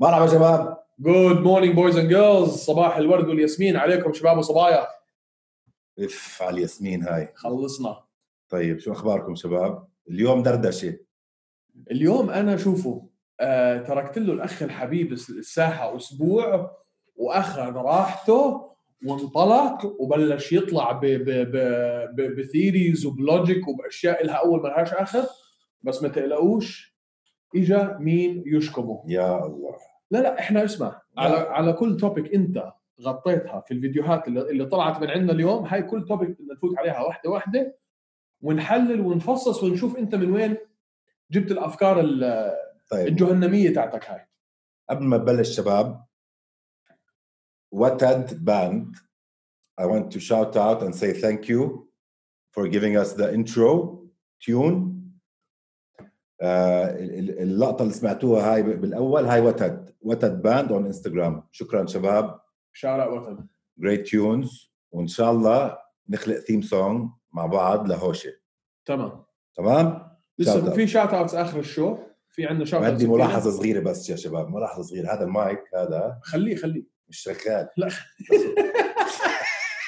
مرحبا شباب جود مورنينج بويز اند جيرلز صباح الورد والياسمين عليكم شباب وصبايا اف على الياسمين هاي خلصنا طيب شو اخباركم شباب اليوم دردشه اليوم انا شوفوا آه تركت له الاخ الحبيب الس- الساحه اسبوع واخذ راحته وانطلق وبلش يطلع ب- ب- ب- ب- بثيريز وبلوجيك وباشياء لها اول ما لهاش اخر بس ما تقلقوش اجا مين يشكمه يا الله لا لا احنا اسمع على على كل توبيك انت غطيتها في الفيديوهات اللي, اللي طلعت من عندنا اليوم هاي كل توبيك بدنا نفوت عليها واحده واحده ونحلل ونفصص ونشوف انت من وين جبت الافكار ال- طيب الجهنميه تاعتك هاي قبل ما بلش شباب وتد باند I want to shout out and say thank you for giving us the intro tune آه، ال- ال- اللقطة اللي سمعتوها هاي بالأول هاي وتد وتد باند on Instagram شكرا شباب شارع وطن جريت تيونز وان شاء الله نخلق ثيم سونج مع بعض لهوشه تمام تمام؟ لسه Shout out. في شات اوتس اخر الشو في عندنا شات بدي ملاحظه صغيره بس يا شباب ملاحظه صغيره هذا المايك هذا خليه خليه مش شغال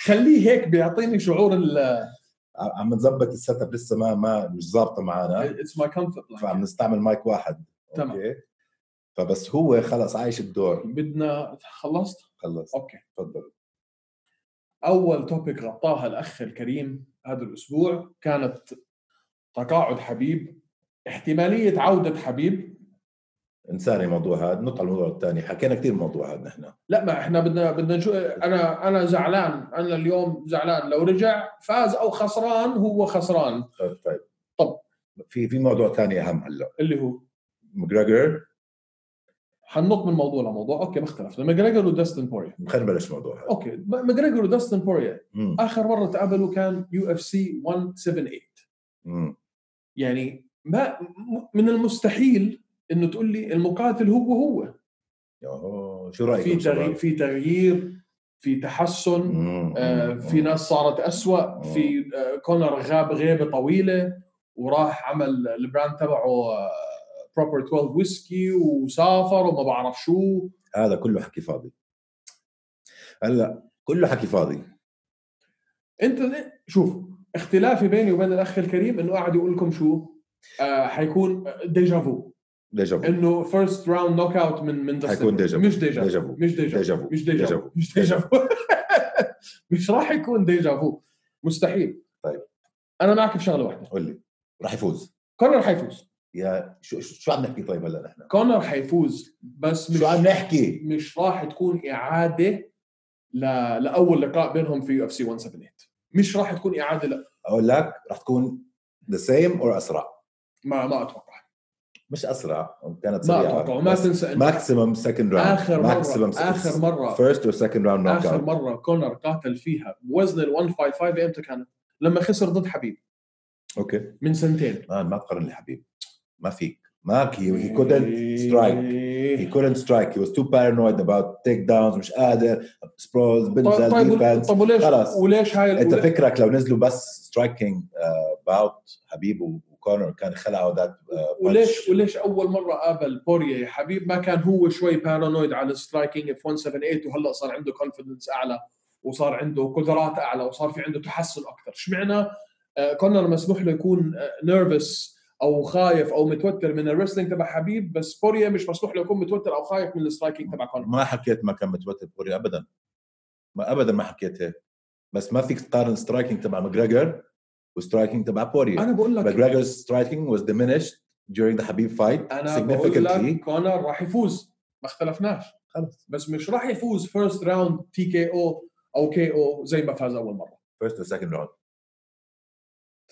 خليه هيك بيعطيني شعور ال ع- عم نظبط السيت اب لسه ما ما مش ظابطه معنا اتس ماي كومفورت فعم نستعمل مايك واحد أيوة، تمام. أوكي؟ فبس هو خلص عايش الدور بدنا خلصت خلص اوكي تفضل اول توبيك غطاها الاخ الكريم هذا الاسبوع كانت تقاعد حبيب احتماليه عوده حبيب انساني الموضوع هذا نطلع الموضوع الثاني حكينا كثير الموضوع هذا نحن لا ما احنا بدنا بدنا نشو... انا انا زعلان انا اليوم زعلان لو رجع فاز او خسران هو خسران طيب طيب طب. في في موضوع ثاني اهم هلا اللي هو ماجريجر حنط من موضوع لموضوع اوكي ما اختلفنا ماجريجر وداستن بوريا خلينا نبلش الموضوع هذا اوكي ما- ماجريجر وداستن بوريا مم. اخر مره تقابلوا كان يو اف سي 178 مم. يعني ما م- من المستحيل انه تقول لي المقاتل هو هو يوهو، شو رايكم في شباب؟ تغيير في تغيير في تحسن مم، آه، مم، في مم. ناس صارت أسوأ في آه، كونر غاب غيبه طويله وراح عمل البراند تبعه آه، بروبر 12 ويسكي وسافر وما بعرف شو هذا كله حكي فاضي هلا كله حكي فاضي انت شوف اختلافي بيني وبين الاخ الكريم انه قاعد يقول لكم شو آه حيكون ديجا فو ديجا فو انه فيرست راوند نوك اوت من من داستن حيكون ديجا فو. مش ديجا ديجا فو فو. مش ديجا ديجا فو. فو مش ديجا ديجا فو فو. مش ديجا فو مش راح يكون ديجا فو مستحيل طيب. انا معك في شغله واحده قول لي راح يفوز كونر حيفوز يا شو شو شو عم نحكي طيب هلا نحن كونر حيفوز بس مش شو عم نحكي مش راح تكون اعاده ل... لاول لقاء بينهم في يو اف سي 178 مش راح تكون اعاده لا اقول لك راح تكون ذا سيم اور اسرع ما ما اتوقع مش اسرع كانت ما سريعه اتوقع وما تنسى انه ماكسيمم سكند راوند اخر مره اخر مره فيرست اور سكند راوند نوك اخر اوت مره كونر قاتل فيها بوزن ال 155 امتى كانت؟ لما خسر ضد حبيب اوكي من سنتين مان آه، ما تقارن لي حبيبي ما فيك ما هي كودنت سترايك إيه. He couldn't strike. He was too paranoid about takedowns. مش قادر sprawls طيب بنزل طيب ول- defense. طب وليش خلاص. وليش هاي انت ولي- فكرك لو نزلوا بس striking uh, bout حبيب و- وكونر كان خلعوا ذات وليش وليش اول مره قابل بوريا يا حبيب ما كان هو شوي بارانويد على السترايكينج في 178 وهلا صار عنده كونفدنس اعلى وصار عنده قدرات اعلى وصار في عنده تحسن اكثر اشمعنى آه، كونر مسموح له يكون نيرفس او خايف او متوتر من الريسلينج تبع حبيب بس بوريا مش مسموح له يكون متوتر او خايف من السترايكينج تبع كونر ما حكيت ما كان متوتر كوريا ابدا ما ابدا ما حكيت هيك بس ما فيك تقارن striking تبع ماجريجر وسترايكينج تبع بوريا انا بقول لك ماجريجر's striking was diminished during the Habib fight انا بقول لك significantly كونر راح يفوز ما اختلفناش خلص بس مش راح يفوز فيرست راوند تي كي او او كي او زي ما فاز اول مره first or second round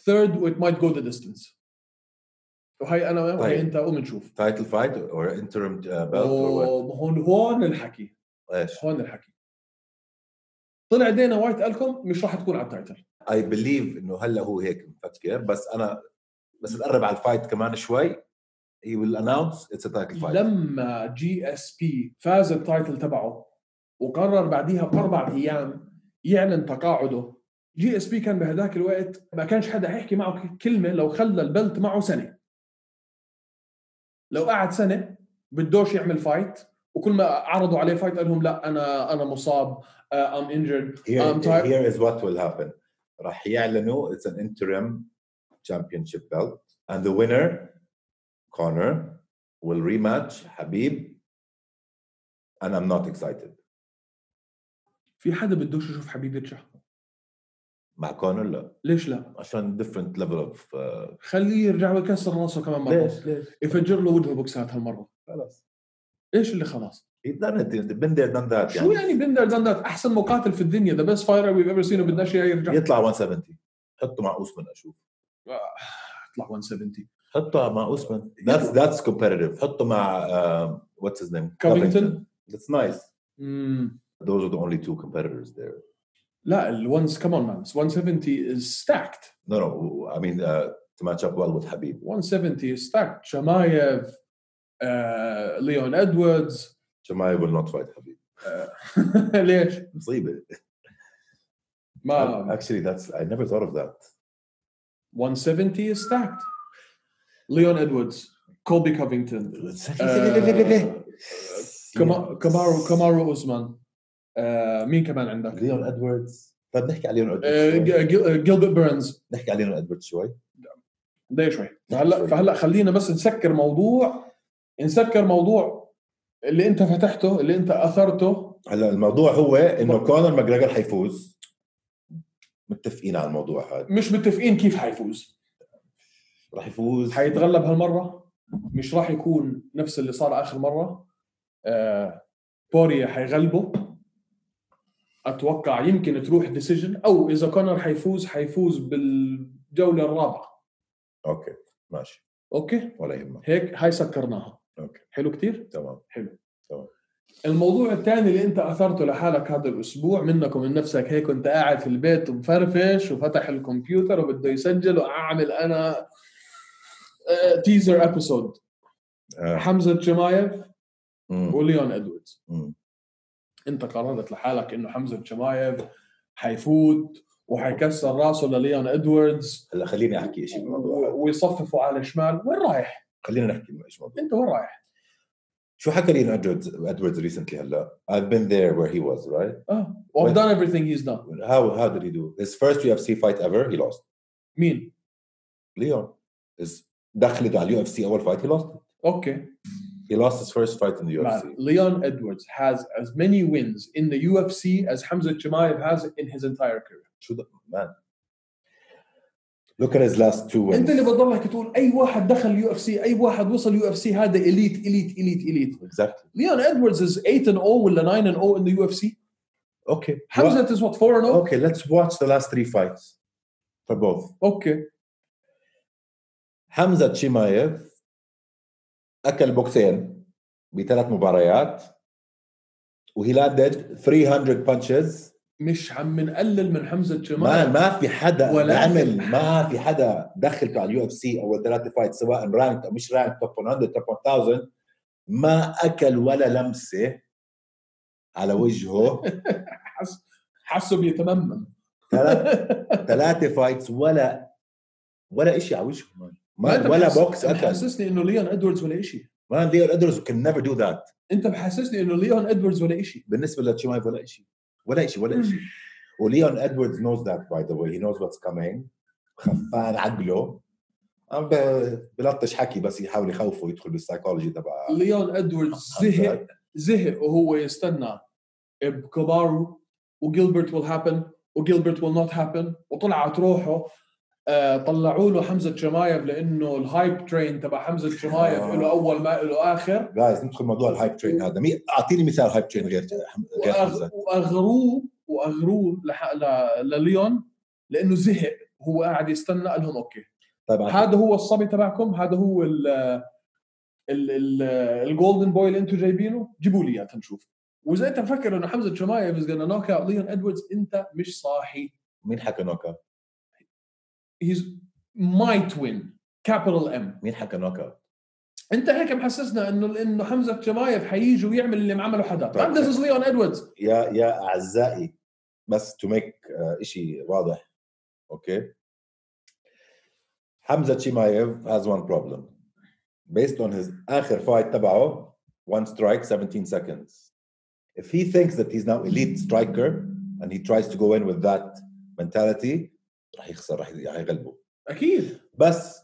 ثيرد ويت مايت جو ذا ديستنس وهي انا وهي طيب. انت قوم نشوف title fight or interim uh, belt or what هون هون الحكي ايش هون الحكي طلع دينا وايت قال لكم مش راح تكون على التايتل اي بليف انه هلا هو هيك مفكر بس انا بس نقرب على الفايت كمان شوي هي ويل اناونس اتس ا تايتل فايت لما جي اس بي فاز التايتل تبعه وقرر بعديها باربع ايام يعلن تقاعده جي اس بي كان بهداك الوقت ما كانش حدا حيحكي معه ك- كلمه لو خلى البلت معه سنه لو قعد سنه بدوش يعمل فايت وكل ما عرضوا عليه فايت قال لهم لا انا انا مصاب آه، ام انجرد Here, I'm tired. here is what will happen. راح يعلنوا it's an interim championship belt and the winner Connor will rematch Habib and I'm not excited. في حدا بدوش يشوف حبيب يتشحط مع كونر لا ليش لا؟ عشان different level of uh, خليه يرجع ويكسر راسه كمان مره ليش ليش يفجر له وجهه بوكسات هالمره خلاص ايش اللي خلاص؟ he done it he's been there done that شو يعني بندر دندات احسن مقاتل في الدنيا ذا بيست فاير ويف ايفر سين وبدناش اياه يرجع يطلع 170 حطه مع اوسمان اشوف آه، اطلع 170 حطه مع اوسمان that's that's competitive حطه مع uh, what's his name Covington. that's nice مم. those are the only two competitors there لا الونز كمان مانس 170 از ستاكت No, no. I mean, uh, to match up well with Habib. 170 از ستاكت شمايف آه، ليون ادواردز Jemai will not fight Habib. ليش؟ مصيبة. ما Actually, that's I never thought of that. 170 از ستاكت ليون ادواردز كولبي كوفينغتون آه، كما- كامارو كامارو اوزمان آه، مين كمان عندك؟ ليون ادواردز طيب نحكي على ليون آه، ادواردز شوي. جيل- جيل- جيلبرت بيرنز نحكي على ليون ادواردز شوي ده شوي فهلا شوي. فهلا خلينا بس نسكر موضوع نسكر موضوع اللي انت فتحته اللي انت اثرته هلا الموضوع هو انه كونر ماجريجر حيفوز متفقين على الموضوع هذا مش متفقين كيف حيفوز راح يفوز حيتغلب هالمره مش راح يكون نفس اللي صار اخر مره آه بوريا حيغلبه اتوقع يمكن تروح ديسيجن او اذا كونر حيفوز حيفوز بالجوله الرابعه اوكي ماشي اوكي ولا يهمك هيك هاي سكرناها اوكي حلو كتير تمام الموضوع الثاني اللي انت اثرته لحالك هذا الاسبوع منك ومن نفسك هيك كنت قاعد في البيت ومفرفش وفتح الكمبيوتر وبده يسجل واعمل انا تيزر ابيسود آه. حمزه شمايف مم. وليون ادواردز مم. انت قررت لحالك انه حمزه شمايف حيفوت وحيكسر راسه لليون ادواردز هلا خليني احكي شيء بالموضوع هذا و- ويصففوا على الشمال وين رايح؟ خلينا نحكي شيء بالموضوع انت وين رايح؟ شو حكى لي ادواردز ادواردز recently هلا I've been there where he was right اه I've done everything he's done how how did he do his first UFC fight ever he lost مين؟ Leon his دخلت على اليو اف سي اول fight he lost it. اوكي he lost his first fight in the UFC Man, Leon Edwards has as many wins in the UFC as Hamza Chimaev has in his entire career. شو ده man look at his last two انت اللي wins بتضلك تقول اي واحد دخل يو اف سي اي واحد وصل يو اف سي هذا اليت اليت اليت اليت exactly ليون ادواردز از 8 and 0 ولا 9 and 0 in the UFC okay حمزه is what 4 and oh؟ 0 okay let's watch the last three fights for both اوكي حمزة تشيمايف أكل بوكسين بثلاث مباريات وهي landed 300 punches مش عم نقلل من حمزه ما شمايف ما في حدا ولا ولا عمل أحد. ما في حدا دخلته على اليو اف سي اول ثلاثه فايت سواء رانك او مش رانك توب 100 توب 1000 ما اكل ولا لمسه على وجهه حس حسه بيتممم ثلاث ثلاثه فايتس ولا ولا شيء على وجهه مان. ما أنت ما ولا بحس- بوكس اكل محسسني انه ليون ادواردز ولا شيء ما ليون ادرز كان نيفر دو ذات انت محسسني انه ليون ادواردز ولا شيء بالنسبه لتشيمايف ولا شيء ولا شيء ولا شيء وليون ادواردز نوز ذات باي ذا واي هي نوز واتس كامينج خفان عقله عم ب- بلطش حكي بس يحاول يخوفه يدخل بالسايكولوجي تبع ليون ادواردز زهق زهق وهو يستنى بكوبارو وجيلبرت will happen وجيلبرت will not happen وطلعت روحه آه، طلعوا له حمزه شمايف لانه الهايب ترين تبع حمزه شمايف آه. له اول ما له اخر جايز ندخل موضوع الهايب ترين هذا مي... اعطيني مثال هايب ترين غير غير وأغ- حمزه واغروه واغروه لح- ل- لليون لانه زهق هو قاعد يستنى قال لهم اوكي طبعا هذا هو الصبي تبعكم هذا هو ال ال الجولدن بوي اللي انتم جايبينه جيبوا لي اياه تنشوف واذا انت مفكر انه حمزه شمايف از جونا نوك اوت ليون ادواردز انت مش صاحي مين حكى نوك اوت؟ هيز مايت وين كابيتال ام مين حكى نوك اوت؟ انت هيك محسسنا انه انه حمزه شمايف حيجي ويعمل اللي عمله حدا طيب. عم ذس ليون ادواردز يا يا اعزائي بس تو ميك شيء واضح اوكي حمزه تشيمايف has one problem based on his اخر فايت تبعه one strike, 17 seconds. If he thinks that he's now elite striker and he tries to go in with that mentality راح يخسر راح راح يغلبه اكيد بس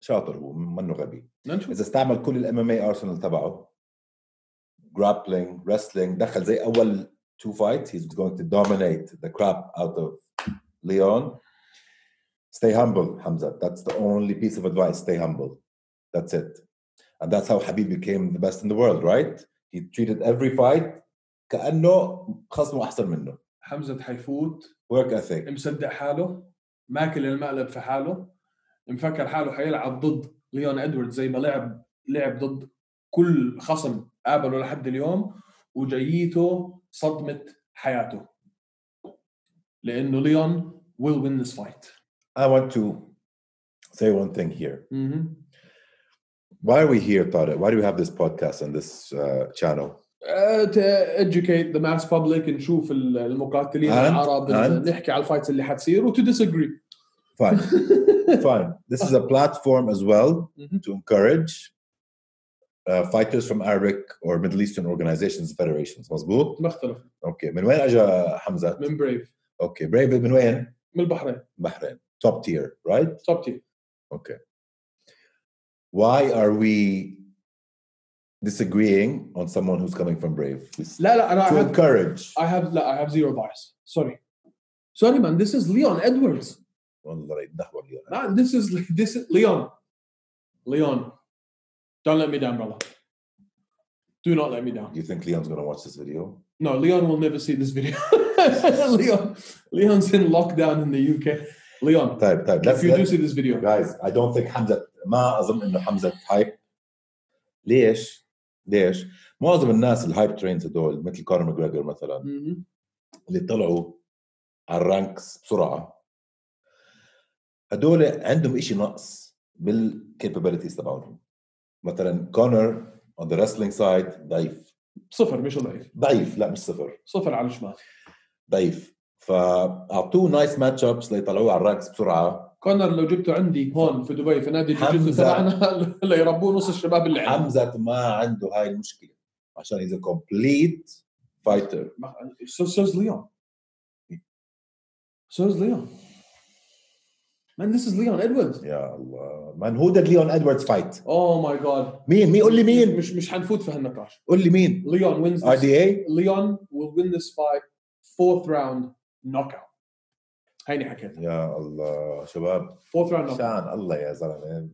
شاطر هو منه غبي بدنا نشوف اذا استعمل كل الام ام اي ارسنال تبعه grappling wrestling دخل زي اول two fights he's going to dominate the crap out of Leon stay humble Hamza that's the only piece of advice stay humble that's it and that's how Habib became the best in the world right he treated every fight كأنه خصمه أحسن منه حمزه حيفوت work ethic مصدق حاله ماكل المقلب في حاله مفكر حاله حيلعب ضد ليون ادوارد زي ما لعب لعب ضد كل خصم قابله لحد اليوم وجايته صدمه حياته لانه ليون will win this fight I want to say one thing here مهم. Why are we here, Tariq? Why do we have this podcast and this uh, channel? Uh, to educate the mass public نشوف ال- المقاتلين And- العرب and- نحكي على الفايتس اللي حتصير وتو disagree Fine, fine. This is a platform as well Mhm. to encourage uh, fighters from Arabic or Middle Eastern organizations, federations. مظبوط? مختلف Okay. من وين اجى حمزة؟ من بريف Okay. Brave من وين؟ من البحرين بحرين. Top tier, right? توب تيم Okay. Why are we disagreeing on someone who's coming from Brave? لا لا انا To أحب- encourage. I have لا I have zero bias. Sorry. Sorry man, this is Leon Edwards. والله يتدهور اليوم. Man, this is this is Leon. Leon. Don't let me down, brother. Do not let me down. You think Leon's going to watch this video? No, Leon will never see this video. Leon Leon's in lockdown in the UK. Leon, طيب طيب if let's, you do let's, see this video, guys I don't think حمزة ما أظن إنه حمزة هايب ليش؟ ليش؟ معظم الناس الهايب ترينز هدول مثل كونر ماجريجر مثلا مهم. اللي طلعوا على الرانكس بسرعة هدول عندهم إشي نقص بالكابابيلتيز تبعهم مثلا كونر on the wrestling side ضعيف صفر مش ضعيف ضعيف لا مش صفر صفر على الشمال ضعيف فاعطوه نايس ماتش ابس ليطلعوه على الرانكس بسرعه كونر لو جبته عندي هون في دبي في نادي الجوجيتسو حمزة. تبعنا ليربوه نص الشباب اللي عندنا حمزه ما عنده هاي المشكله عشان اذا كومبليت فايتر So, so's Leon. So's Leon. Man, this is Leon Edwards. يا الله من هو ده ليون ادواردز فايت Oh my god. مين مين قول لي مين مش مش حنفوت في هالنقاش. قول لي مين Leon wins ار this. دي اي Leon will win this fight fourth round knockout. هيني حكيت يا الله شباب fourth round knockout. شان الله يا زلمه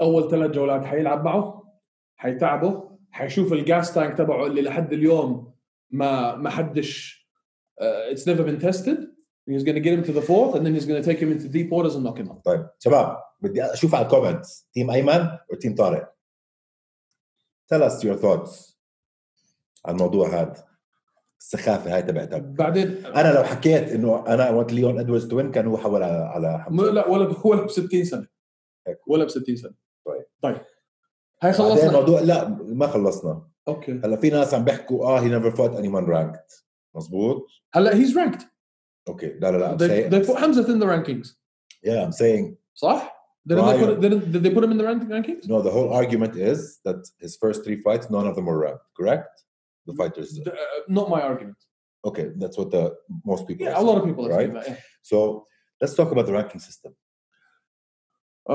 اول ثلاث جولات حيلعب معه حيتعبه حيشوف الجاس تانك تبعه اللي لحد اليوم ما ما حدش uh, it's never been tested he's going to get him to the fourth and then he's going to take him into deep waters and knock him out طيب شباب بدي اشوف على الكومنتس تيم ايمن وتيم طارق tell us your thoughts على الموضوع هذا السخافه هاي تبعتك بعدين انا لو حكيت انه انا وقت ليون ادواردز توين كان هو حول على على م- حمزه لا ولا ب- ولا ب 60 سنه هيك. ولا ب 60 سنه طيب. طيب هاي بعدين خلصنا الموضوع لا ما خلصنا اوكي هلا في ناس عم بيحكوا اه هي نيفر فوت اني مان رانكت مزبوط هلا هيز رانكد اوكي لا لا لا I'm they, they saying put حمزه in the rankings yeah I'm saying صح؟ Didn't they, Ryan. put, didn't, did they put him in the rank- rankings? no the whole argument is that his first three fights none of them were ranked correct the fighters D- uh, not my argument. okay that's what the most people Yeah, are a lot of people are Right. saying that. Yeah. so let's talk about the ranking system Uh,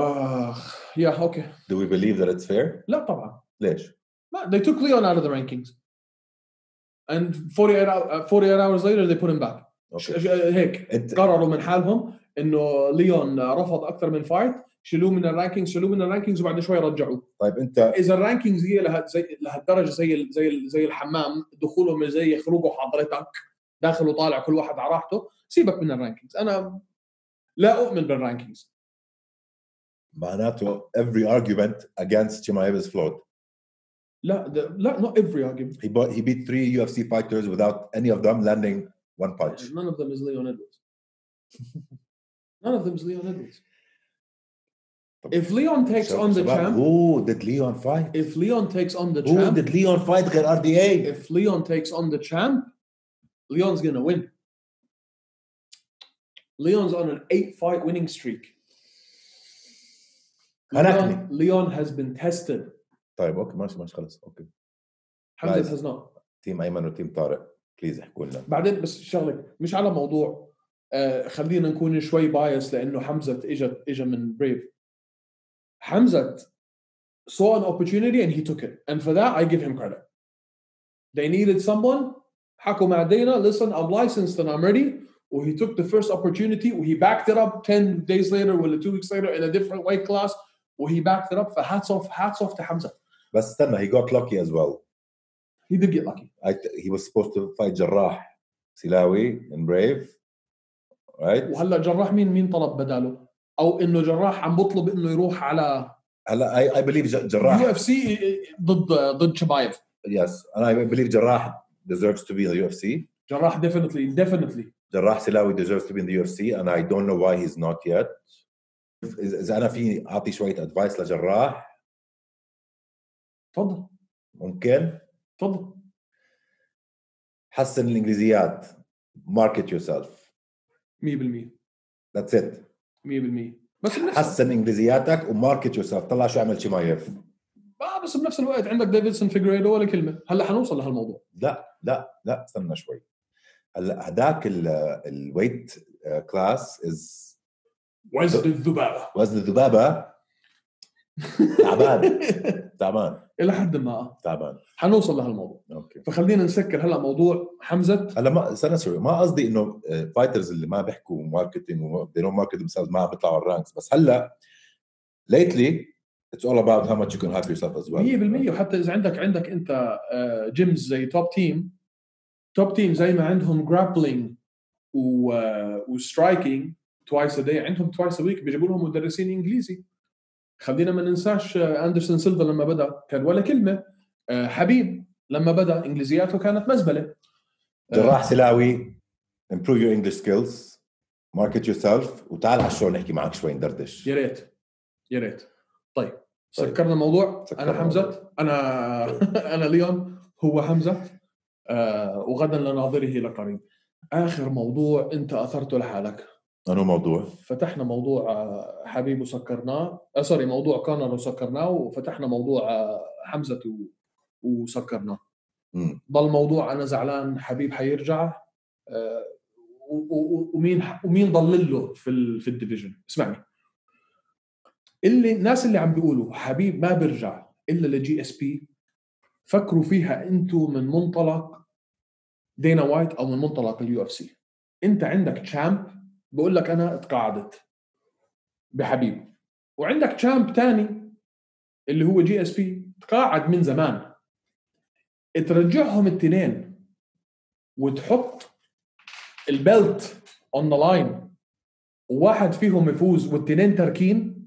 yeah, okay. do we believe that it's fair لا طبعا ليش ما they took Leon out of the rankings and 48 hours, uh, 48 hours later they put him back ش- okay. ش- هيك انت قرروا من حالهم انه ليون رفض اكثر من فايت شيلوه من الرانكينجز شيلوه من الرانكينجز وبعد شوي رجعوه طيب انت اذا الرانكينجز هي لها زي لهالدرجه زي ال- زي ال- زي الحمام دخولهم زي خروجه حضرتك داخل وطالع كل واحد على راحته سيبك من الرانكينجز انا لا اؤمن بالرانكينجز معناته every argument against Chimaev is flawed لا ده- لا not every argument He bought, he beat three UFC fighters without any of them landing one punch. none of them is Leon Edwards none of them is Leon Edwards if Leon takes on the شباب، champ Who did Leon fight? if Leon takes on the Who champ did Leon fight غير RDA? if Leon takes on the champ, Leon's gonna win. Leon's on an eight-fight winning streak. Correct Leon, Leon has been tested. طيب اوكي ماشي ماشي خلص اوكي حمزه Guys. هزنان تيم ايمن وتيم طارق بليز احكوا لنا بعدين بس شغله مش على موضوع آه خلينا نكون شوي بايس لانه حمزه اجت اجى من بريف حمزه saw an opportunity and he took it and for that I give him credit they needed someone حكوا مع دينا listen I'm licensed and I'm ready و he took the first opportunity و he backed it up 10 days later ولا 2 weeks later in a different weight class و he backed it up ف hats off hats off to حمزه بس استنى هي جوت لوكي از ويل he did get lucky هي واز سبوست تو فايت جراح سلاوي ان بريف رايت وهلا جراح مين مين طلب بداله او انه جراح عم بطلب انه يروح على هلا اي اي بليف يو جراح اف سي ضد ضد شبايف يس انا اي بليف جراح deserves to be in the UFC جراح ديفنتلي ديفنتلي جراح سلاوي deserves to be in the UFC and I don't know why he's not yet. إذا- إذا أنا فيني أعطي شوية أدفايس لجراح تفضل ممكن تفضل حسن الإنجليزيات market yourself 100% that's it 100% بس بنفس حسن إنجليزياتك وماركت yourself طلع شو عمل شمايف آه بس بنفس الوقت عندك ديفيدسون فيجريدو ولا كلمه هلا حنوصل لهالموضوع لا لا لا استنى شوي هلا هداك الويت كلاس از وزن الذبابه وزن الذبابه تعبان تعبان الى حد ما آه. تعبان حنوصل لهالموضوع اوكي فخلينا نسكر هلا موضوع حمزه هلا ما استنى سوري ما قصدي انه فايترز اللي ما بيحكوا ماركتينج they don't market themselves ما عم بيطلعوا الرانكس بس هلا lately it's all about how much you can hype yourself as 100% well وحتى اذا عندك عندك انت آه، جيمز زي توب تيم توب تيم زي ما عندهم آه، جرابلينج وسترايكينج توايس ا داي عندهم توايس ا ويك بيجيبوا لهم مدرسين انجليزي خلينا ما ننساش آه، اندرسون سيلفا لما بدا كان ولا كلمه آه، حبيب لما بدا انجليزياته كانت مزبله أه. جراح سلاوي improve your English skills market yourself وتعال على الشو نحكي معك شوي ندردش يا ريت يا ريت طيب طيب. سكرنا الموضوع سكرنا انا حمزه انا انا ليون هو حمزه آه وغدا لناظره لقريب اخر موضوع انت اثرته لحالك انو موضوع فتحنا موضوع آه، حبيب وسكرناه آه سوري موضوع كونر وسكرناه وفتحنا موضوع آه، حمزه و... وسكرناه مم. ضل موضوع انا زعلان حبيب حيرجع آه، و- و- ومين ومين ضل له في ال... في الديفيجن اسمعني اللي الناس اللي عم بيقولوا حبيب ما بيرجع الا لجي اس بي فكروا فيها انتم من منطلق دينا وايت او من منطلق اليو اف سي انت عندك تشامب بقول لك انا اتقاعدت بحبيب وعندك تشامب تاني اللي هو جي اس بي تقاعد من زمان ترجعهم التنين وتحط البلت اون ذا لاين وواحد فيهم يفوز والتنين تركين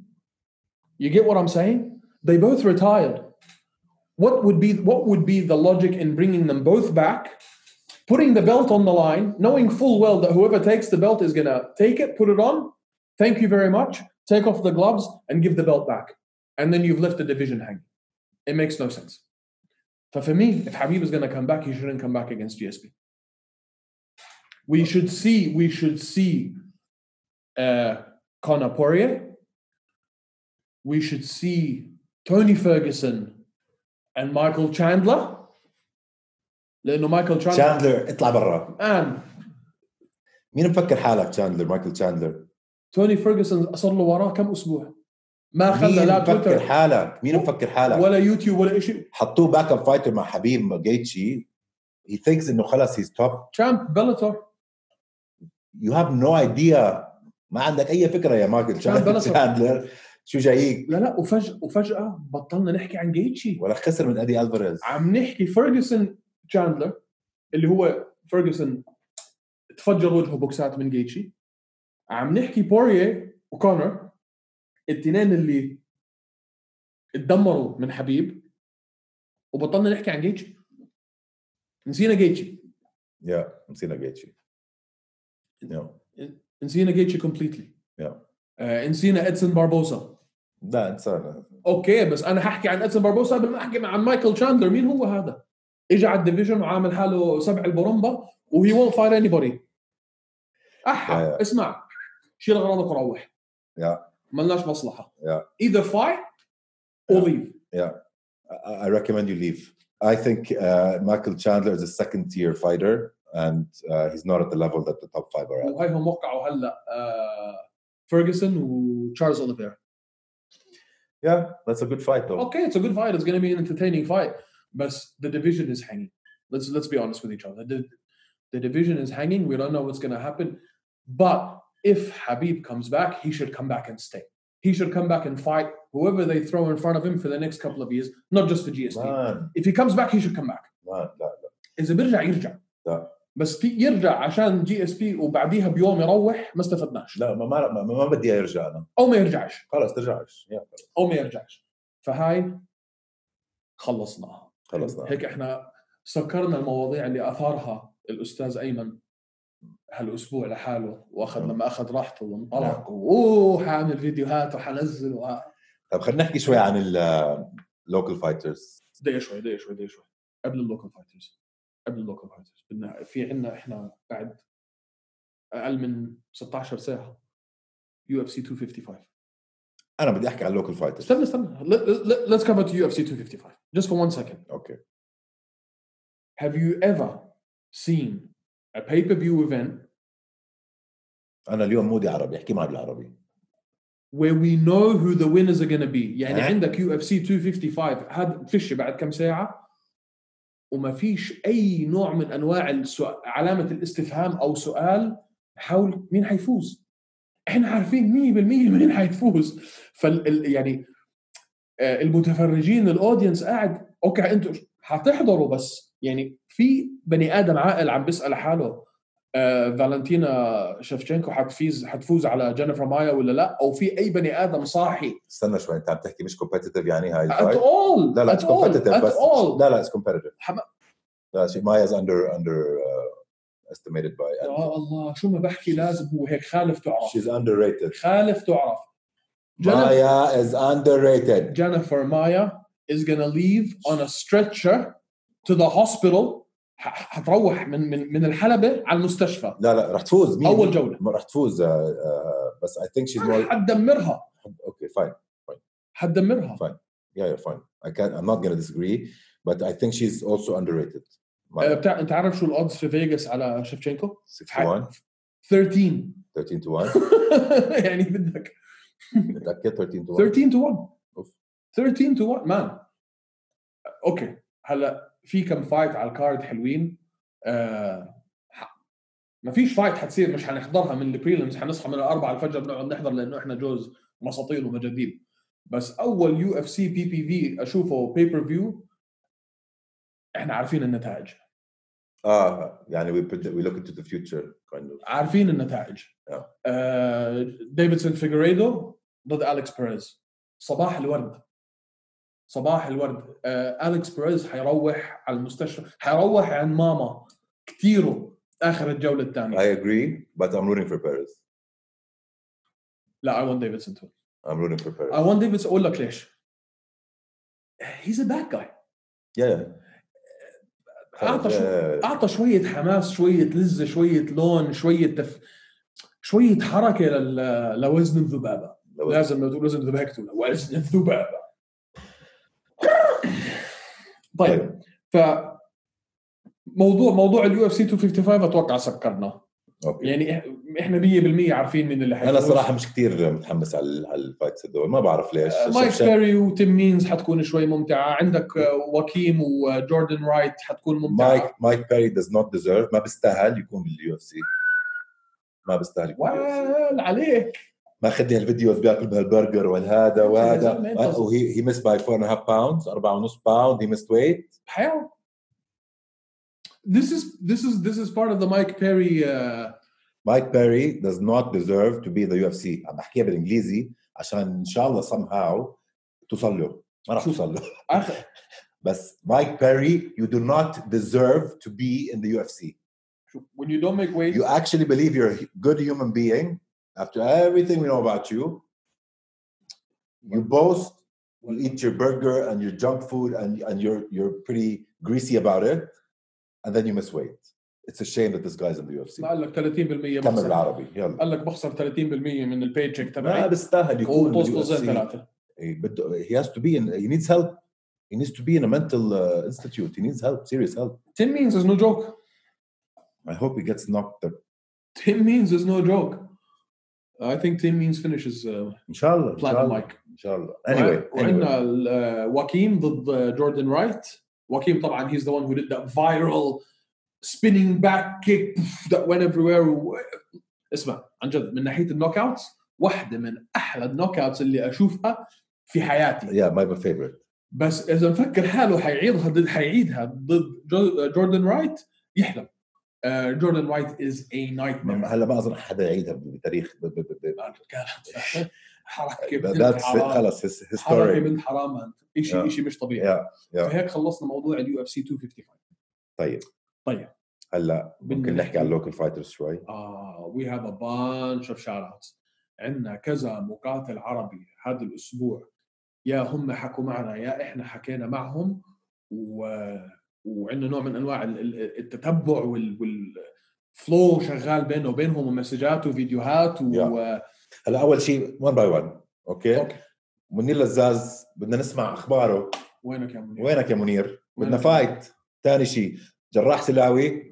you get what I'm saying they both retired what would be what would be the logic in bringing them both back putting the belt on the line, knowing full well that whoever takes the belt is going to take it, put it on, thank you very much, take off the gloves, and give the belt back. And then you've left the division hanging. It makes no sense. But for me, if Habib is going to come back, he shouldn't come back against GSP. We should see, we should see uh, Conor Poirier. We should see Tony Ferguson and Michael Chandler. لأنه مايكل تشاندلر شاندلر اطلع برا الان مين مفكر حالك شاندلر مايكل شاندلر توني فيرجسون صار له وراه كم اسبوع ما خلى مين لا مفكر تويتر حالك مين مفكر حالك ولا يوتيوب ولا شيء حطوه باك اب فايتر مع حبيب جيتشي he thinks انه خلص he's top تشامب بلاتور you have no idea ما عندك اي فكره يا مايكل شان بلسر. شاندلر شو جايك لا لا وفجأة وفجأة بطلنا نحكي عن جيتشي ولا خسر من ادي الفاريز عم نحكي فيرجسون تشاندلر اللي هو فيرجسون تفجر وجهه بوكسات من جيتشي عم نحكي بوريه وكونر التنين اللي اتدمروا من حبيب وبطلنا نحكي عن جيتشي نسينا جيتشي يا نسينا جيتشي يا. نسينا جيتشي كومبليتلي Yeah. آه نسينا ادسون باربوسا لا انسان اوكي بس انا ححكي عن ادسون باربوسا قبل ما احكي عن مايكل تشاندلر مين هو هذا؟ اجى على الديفيجن وعامل حاله سبع البرمبه وهي وونت فاير اني بودي Yeah, احا اسمع شيل اغراضك وروح Yeah. ملناش مصلحه Yeah. ايذر فايت اور Yeah. ليف Yeah. I I recommend you leave. I think uh, Michael Chandler is a second tier fighter, and uh, he's not at the level that the top five are at. وهاي هم وقعوا هلا آه، فيرجسون وتشارلز اوليفير Yeah, that's a good fight though. اوكي اتس ا جود فايت اتس gonna be an entertaining fight بس the division is hanging let's let's be honest with each other the, the division is hanging we don't know what's gonna happen but if Habib comes back he should come back and stay he should come back and fight whoever they throw in front of him for the next couple of years not just for GSP Man, if he comes back he should come back man, لا لا اذا بيرجع يرجع لا. بس في- يرجع عشان جي اس بي وبعديها بيوم يروح ما استفدناش لا ما ما, ما, ما بدي ارجع انا او ما يرجعش خلص ترجعش yeah, او ما يرجعش فهاي خلصناها خلصنا هيك احنا سكرنا المواضيع اللي اثارها الاستاذ ايمن هالاسبوع لحاله واخذ لما اخذ راحته وانطلق اوه حاعمل فيديوهات وحنزل وه- طب خلينا نحكي شوي عن uh, اللوكال فايترز دقيقه شوي دقيقه شوي دقيقه شوي قبل اللوكال فايترز قبل اللوكال فايترز بدنا في عندنا احنا بعد اقل من 16 ساعه يو اف سي 255 انا بدي احكي عن اللوكال فايترز استنى استنى ليتس كفر تو يو اف سي 255 just for one second اوكي have you ever seen a pay-per-view event انا اليوم مودي عربي احكي معي بالعربي where we know who the winners are going to be يعني ها؟ عندك يو اف سي 255 هذا فيش بعد كم ساعه وما فيش اي نوع من انواع السؤال علامه الاستفهام او سؤال حول مين حيفوز احنا عارفين 100% مين حيفوز فال يعني آه، المتفرجين الاودينس قاعد اوكي انتوا هتحضروا بس يعني في بني ادم عاقل عم بيسال حاله آه، فالنتينا شفشنكو حتفيز حتفوز على جينيفر مايا ولا لا او في اي بني ادم صاحي استنى شوي انت عم تحكي مش كومبتيتيف يعني هاي at الفايت all لا لا at اتس all كومبتيتيف at بس all لا لا اتس كومبتيتيف حما- لا شي مايا از اندر اندر uh, estimated by يا الله شو ما بحكي لازم هو هيك خالف تعرف she's underrated خالف تعرف جينيفر Maya is underrated Jennifer Maya is gonna leave on a stretcher to the hospital ح- حتروح من من من الحلبة على المستشفى لا لا رح تفوز مين أول جولة. ما رح تفوز آه، آه، بس I think she's more حتدمرها okay fine حتدمرها yeah you're fine I can't I'm not gonna disagree but I think she's also underrated آه، Maya, بتاع انت عارف شو الاودز في فيجاس على شيفشينكو 6 to 1 13 13 to 1 يعني بدك متأكد 13 to 1 13 تو 1 أوف. 13 تو 1 مان اوكي هلا في كم فايت على الكارد حلوين آه ح- ما فيش فايت حتصير مش حنحضرها من البريلمز حنصحى من الأربعة الفجر بنقعد نحضر لانه احنا جوز مساطيل ومجاذيب بس اول يو اف سي بي بي في اشوفه بي بير فيو احنا عارفين النتائج اه يعني we predict, we look into the future kind of عارفين النتائج Yeah. آه، ديفيدسون فيجريدو ضد اليكس بيريز صباح الورد صباح الورد آه، اليكس بيريز حيروح على المستشفى حيروح عن ماما كثيره اخر الجوله الثانيه I agree but I'm rooting for Paris لا اي ونت ديفيدسون تو I'm rooting for Paris اي ونت ديفيدسون اقول لك ليش هيز ا باد جاي yeah yeah اعطى شو Yeah. اعطى شويه حماس شويه لذه شويه لون شويه تف... شويه حركه لل... لوزن الذبابه لو- لازم لو تقول وزن الذبابه اكتب وزن الذبابه طيب ف موضوع موضوع اليو اف سي 255 اتوقع سكرنا اوكي يعني إح- احنا 100% عارفين مين اللي انا صراحه مش كثير متحمس على على الفايتس هدول ما بعرف ليش مايك شفشان- بيري وتيم مينز حتكون شوي ممتعه عندك آه، واكيم وجوردن رايت حتكون ممتعه مايك مايك بيري does not deserve ما بيستاهل يكون باليو اف سي ما بيستاهل يكون باليو اف سي وال عليك ما اخذني الفيديوز بياكل بهالبرجر والهذا يا زلمة، وهذا أنت آه، أصلاً. وهي هي مس باي 4 اند هاف باوندز 4 ونص باوند هي مس ويت حياة This is this is this is part of the Mike Perry uh, مايك بيري does not deserve to be the UFC عم بحكيها بالانجليزي عشان ان شاء الله somehow توصل له ما راح شو- توصل له آخر بس مايك بيري you do not deserve to be in the UFC when you don't make weight you actually believe you're a good human being after everything we know about you you boast you eat your burger and your junk food and, and you're you're pretty greasy about it and then you miss weight it's a shame that this guy's in the ما UFC قال لك 30% كمل بخسر بالعربي يلا قال لك بخسر 30% من البي تشيك ما تبعي بيستاهل يكون وطز بال طزين UFC. ثلاثه uh, إيه، بده- he has to be in he needs help He needs to be in a mental uh, institute. He needs help, serious help. Tim Means is no joke. I hope he gets knocked up. Tim Means is no joke. I think Tim Means finishes uh, Inshallah. platinum Inshallah. like Inshallah. Anyway. anyway. وعندنا ال- آه، واكيم ضد آه، جوردن رايت واكيم طبعا he's the one who did that viral spinning back kick that went everywhere و... اسمع عن جد من ناحيه النوك اوتس واحده من احلى النوك اوتس اللي اشوفها في حياتي Yeah, my favorite. بس اذا مفكر حاله حيعيدها ضد حيعيدها ضد جو- جوردن رايت يحلم آه، جوردن رايت از اي نايت ما- هلا ما اظن حدا يعيدها بتاريخ ب- ب- ب- ب- كانت حركه That- بنت that's it. حرام خلص his- حركه history. بنت حرام أنت. شيء Yeah. شيء مش طبيعي Yeah, yeah. فهيك خلصنا موضوع اليو اف سي 255 طيب. طيب. هلا ممكن بدنا نحكي عن اللوكال فايترز شوي. اه وي هاف ا بانش اوف شاوت اوتس عندنا كذا مقاتل عربي هذا الاسبوع يا هم حكوا معنا يا احنا حكينا معهم و... وعندنا نوع من انواع ال- ال- التتبع وال... والفلو شغال بينه وبينهم ومسجات وفيديوهات و... هلا اول شيء 1 باي 1 اوكي؟ اوكي منير لزاز بدنا نسمع اخباره وينك يا منير؟ وينك يا منير؟ بدنا وينك؟ فايت ثاني شيء جراح سلاوي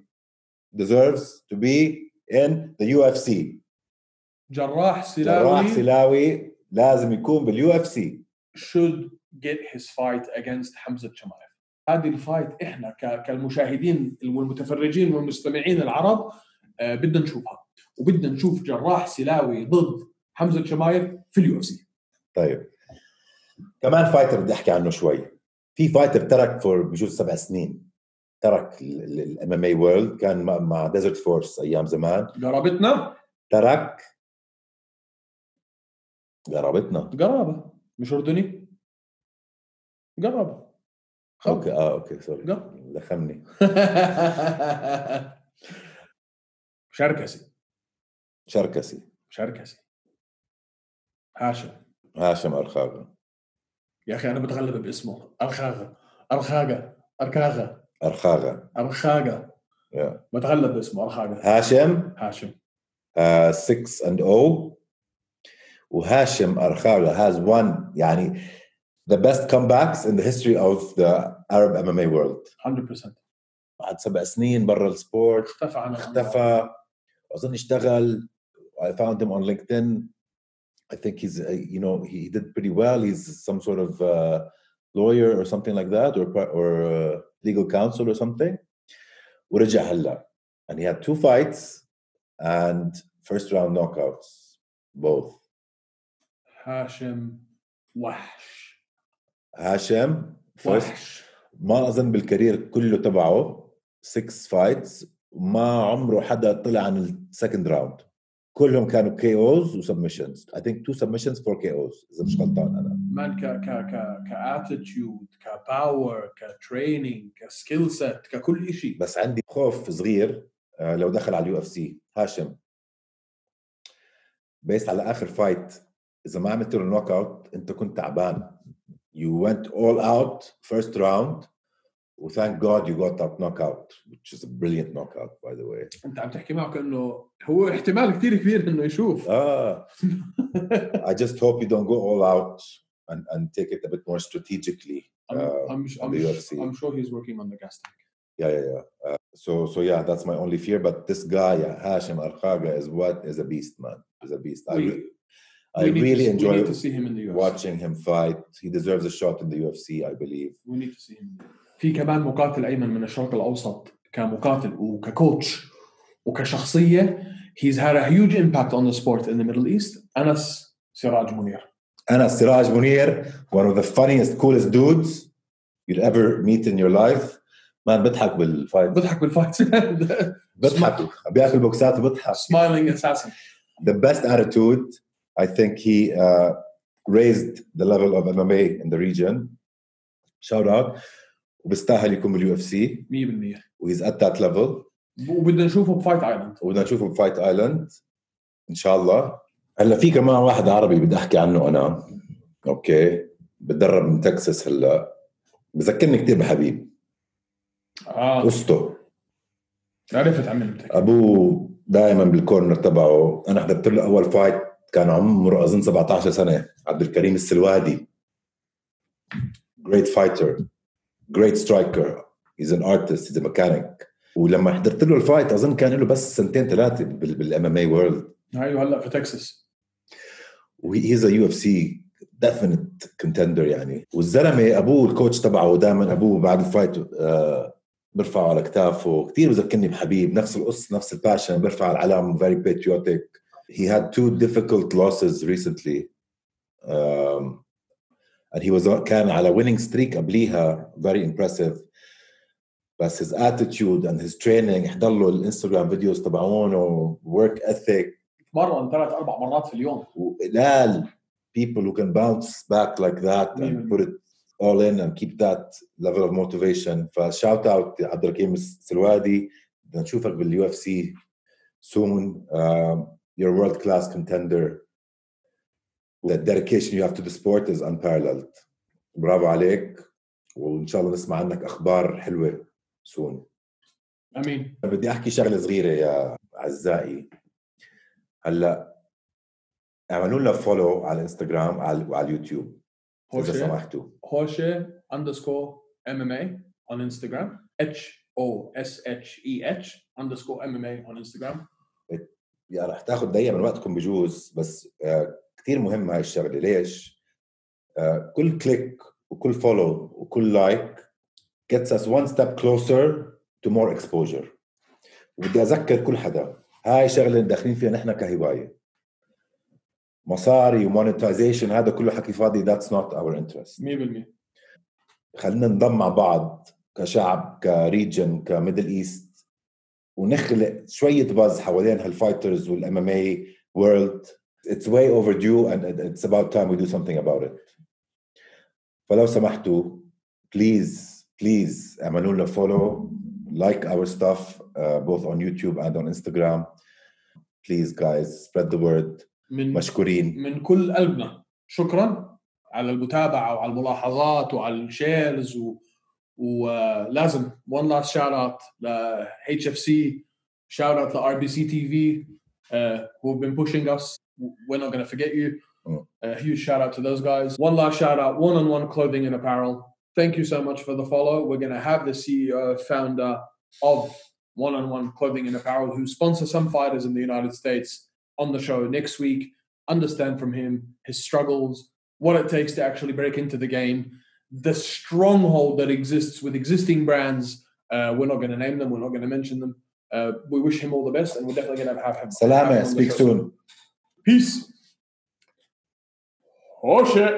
deserves to be in the UFC جراح جراح سلاوي سلاوي لازم يكون باليو اف سي should get his fight against حمزه شمايف هذه الفايت احنا ك- كالمشاهدين والمتفرجين والمستمعين العرب آه، بدنا نشوفها وبدنا نشوف جراح سلاوي ضد حمزه شمايف في اليو اف سي طيب كمان فايتر بدي احكي عنه شوي في فايتر ترك فور بجوز سبع سنين ترك الام ام اي وورلد كان مع- مع ديزرت فورس ايام زمان قرابتنا ترك قرابتنا قرابه مش اردني قرابه خب. اوكي اه اوكي سوري لا. لخمني شركسي شركسي شركسي هاشم هاشم ارخاغا يا اخي انا بتغلب باسمه ارخاغه ارخاغه ارخاغه ارخاغا أرخاقة Yeah. بتغلب باسمه أرخاقة هاشم آه، هاشم 6 اند 0 وهاشم ارخاغا has won يعني the best comebacks in the history of the Arab MMA world 100% بعد سبع سنين برا السبورت اختفى عن اختفى اظن اشتغل I found him on LinkedIn I think he's uh, you know he did pretty well he's some sort of uh, lawyer or something like that or par- or uh, legal counsel or something ورجع هلا and he had two fights and first round knockouts both هاشم وحش هاشم first وحش ما اظن بالكارير كله تبعه 6 فايتس ما عمره حدا طلع عن السكند راوند كلهم كانوا كي اوز وسبمشنز اي ثينك تو سبمشنز فور كي اوز اذا مش غلطان انا مان ك ك ك كاتيتيود كباور كتريننج كسكيل سيت ككل شيء بس عندي خوف صغير آه، لو دخل على اليو اف سي هاشم بيس على اخر فايت اذا ما عملت له نوك اوت انت كنت تعبان يو went all out first round وثانك جاد يو got that knockout which is a brilliant knockout by the way انت عم تحكي معه كانه هو احتمال كثير كبير انه يشوف Ah, I just hope you don't go all out and, and take it a bit more strategically. Uh, I'm, I'm, on the UFC. I'm sure he's working on the gas tank yeah, yeah, yeah. Uh, so, so yeah, that's my only fear. But this guy, yeah, Hashim Arkaga, is what is a beast, man. Is a beast. I, We- re- I we need really to, we enjoy need to see him in the UFC watching him fight. He deserves a shot in the UFC, I believe. We need to see him. في كمان مقاتل ايمن من الشرق الاوسط كمقاتل وككوتش وكشخصيه he's had a huge impact on the sport in the Middle East انس سراج منير Anna Siraj Munir, one of the funniest, coolest dudes you'll ever meet in your life. Man, بضحك بالفايت بضحك بالفايت بضحك بياكل بوكسات وبضحك smiling assassin the best attitude. I think he uh, raised the level of MMA in the region. Shout out. وبيستاهل يكون باليو اف سي 100% وهيز ات ذات ليفل وبدنا نشوفه بفايت ايلاند وبدنا نشوفه بفايت ايلاند ان شاء الله هلا في كمان واحد عربي بدي احكي عنه انا اوكي بتدرب من تكساس هلا بذكرني كثير بحبيب اه قصته عرفت عن مين بتحكي ابوه دائما بالكورنر تبعه انا حضرت له اول فايت كان عمره اظن 17 سنه عبد الكريم السلوادي great fighter great striker he's an artist he's a mechanic ولما حضرت له الفايت اظن كان له بس سنتين ثلاثه بالام ام اي وورلد ايوه هلا في تكساس وهيز ا يو اف سي ديفينت كونتندر يعني والزلمه ابوه الكوتش تبعه دائما ابوه بعد الفايت آه برفعه على كتافه كثير بذكرني بحبيب نفس القصه نفس الباشن برفع العلم فيري patriotic he had two difficult losses recently um, and he was on- كان على winning streak قبليها very impressive بس his attitude and his training احضر له الانستغرام فيديوز تبعونه work ethic تمرن ثلاث اربع مرات في اليوم وقلال people who can bounce back like that and Yeah. put it all in and keep that level of motivation فشاوت اوت عبد الرحيم السلوادي بدنا نشوفك باليو اف سي soon um, you're a world class contender the dedication you have to the sport is unparalleled برافو عليك وان شاء الله نسمع عنك اخبار حلوه soon امين بدي احكي شغله صغيره يا اعزائي هلا اعملوا لنا فولو على الانستغرام على- وعلى اليوتيوب اذا هوشه سمحتوا هوشه اندرسكور ام ام اي اون انستغرام اتش او اس اتش اي اتش اندرسكور ام ام اي اون انستغرام يا رح تاخذ دقيقه من وقتكم بجوز بس كثير مهم هاي الشغله ليش؟ آه، كل كليك وكل فولو وكل لايك gets us one step closer to more exposure وبدي اذكر كل حدا هاي شغله داخلين فيها نحن كهوايه مصاري ومونتايزيشن هذا كله حكي فاضي that's not our interest 100% خلينا ننضم مع بعض كشعب كريجن كميدل ايست ونخلق شويه باز حوالين هالفايترز والام ام اي وورلد اتس واي اوفر ديو اند اتس اباوت تايم وي دو سمثينج اباوت ات فلو سمحتوا بليز بليز اعملوا لنا فولو لايك اور ستاف بوث اون يوتيوب اند اون انستغرام بليز جايز سبريد ذا وورد من مشكورين من كل قلبنا شكرا على المتابعه وعلى الملاحظات وعلى الشيرز و... ولازم وان لاست شاوت اوت ل اتش اف سي شاوت اوت لار بي سي تي في uh, who have been pushing us we're not going to forget you Mm. a huge shout out to those guys one last shout out one on one clothing and apparel thank you so much for the follow we're going to have the ceo founder of one on one clothing and apparel who sponsor some fighters in the united states on the show next week understand from him his struggles, what it takes to actually break into the game, the stronghold that exists with existing brands. Uh, we're not going to name them. We're not going to mention them. Uh, we wish him all the best, and we're definitely going to have him. have him سلامه on the سبيك show. سون Peace. Oh shit.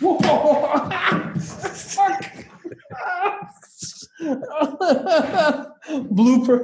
Fuck. Blooper.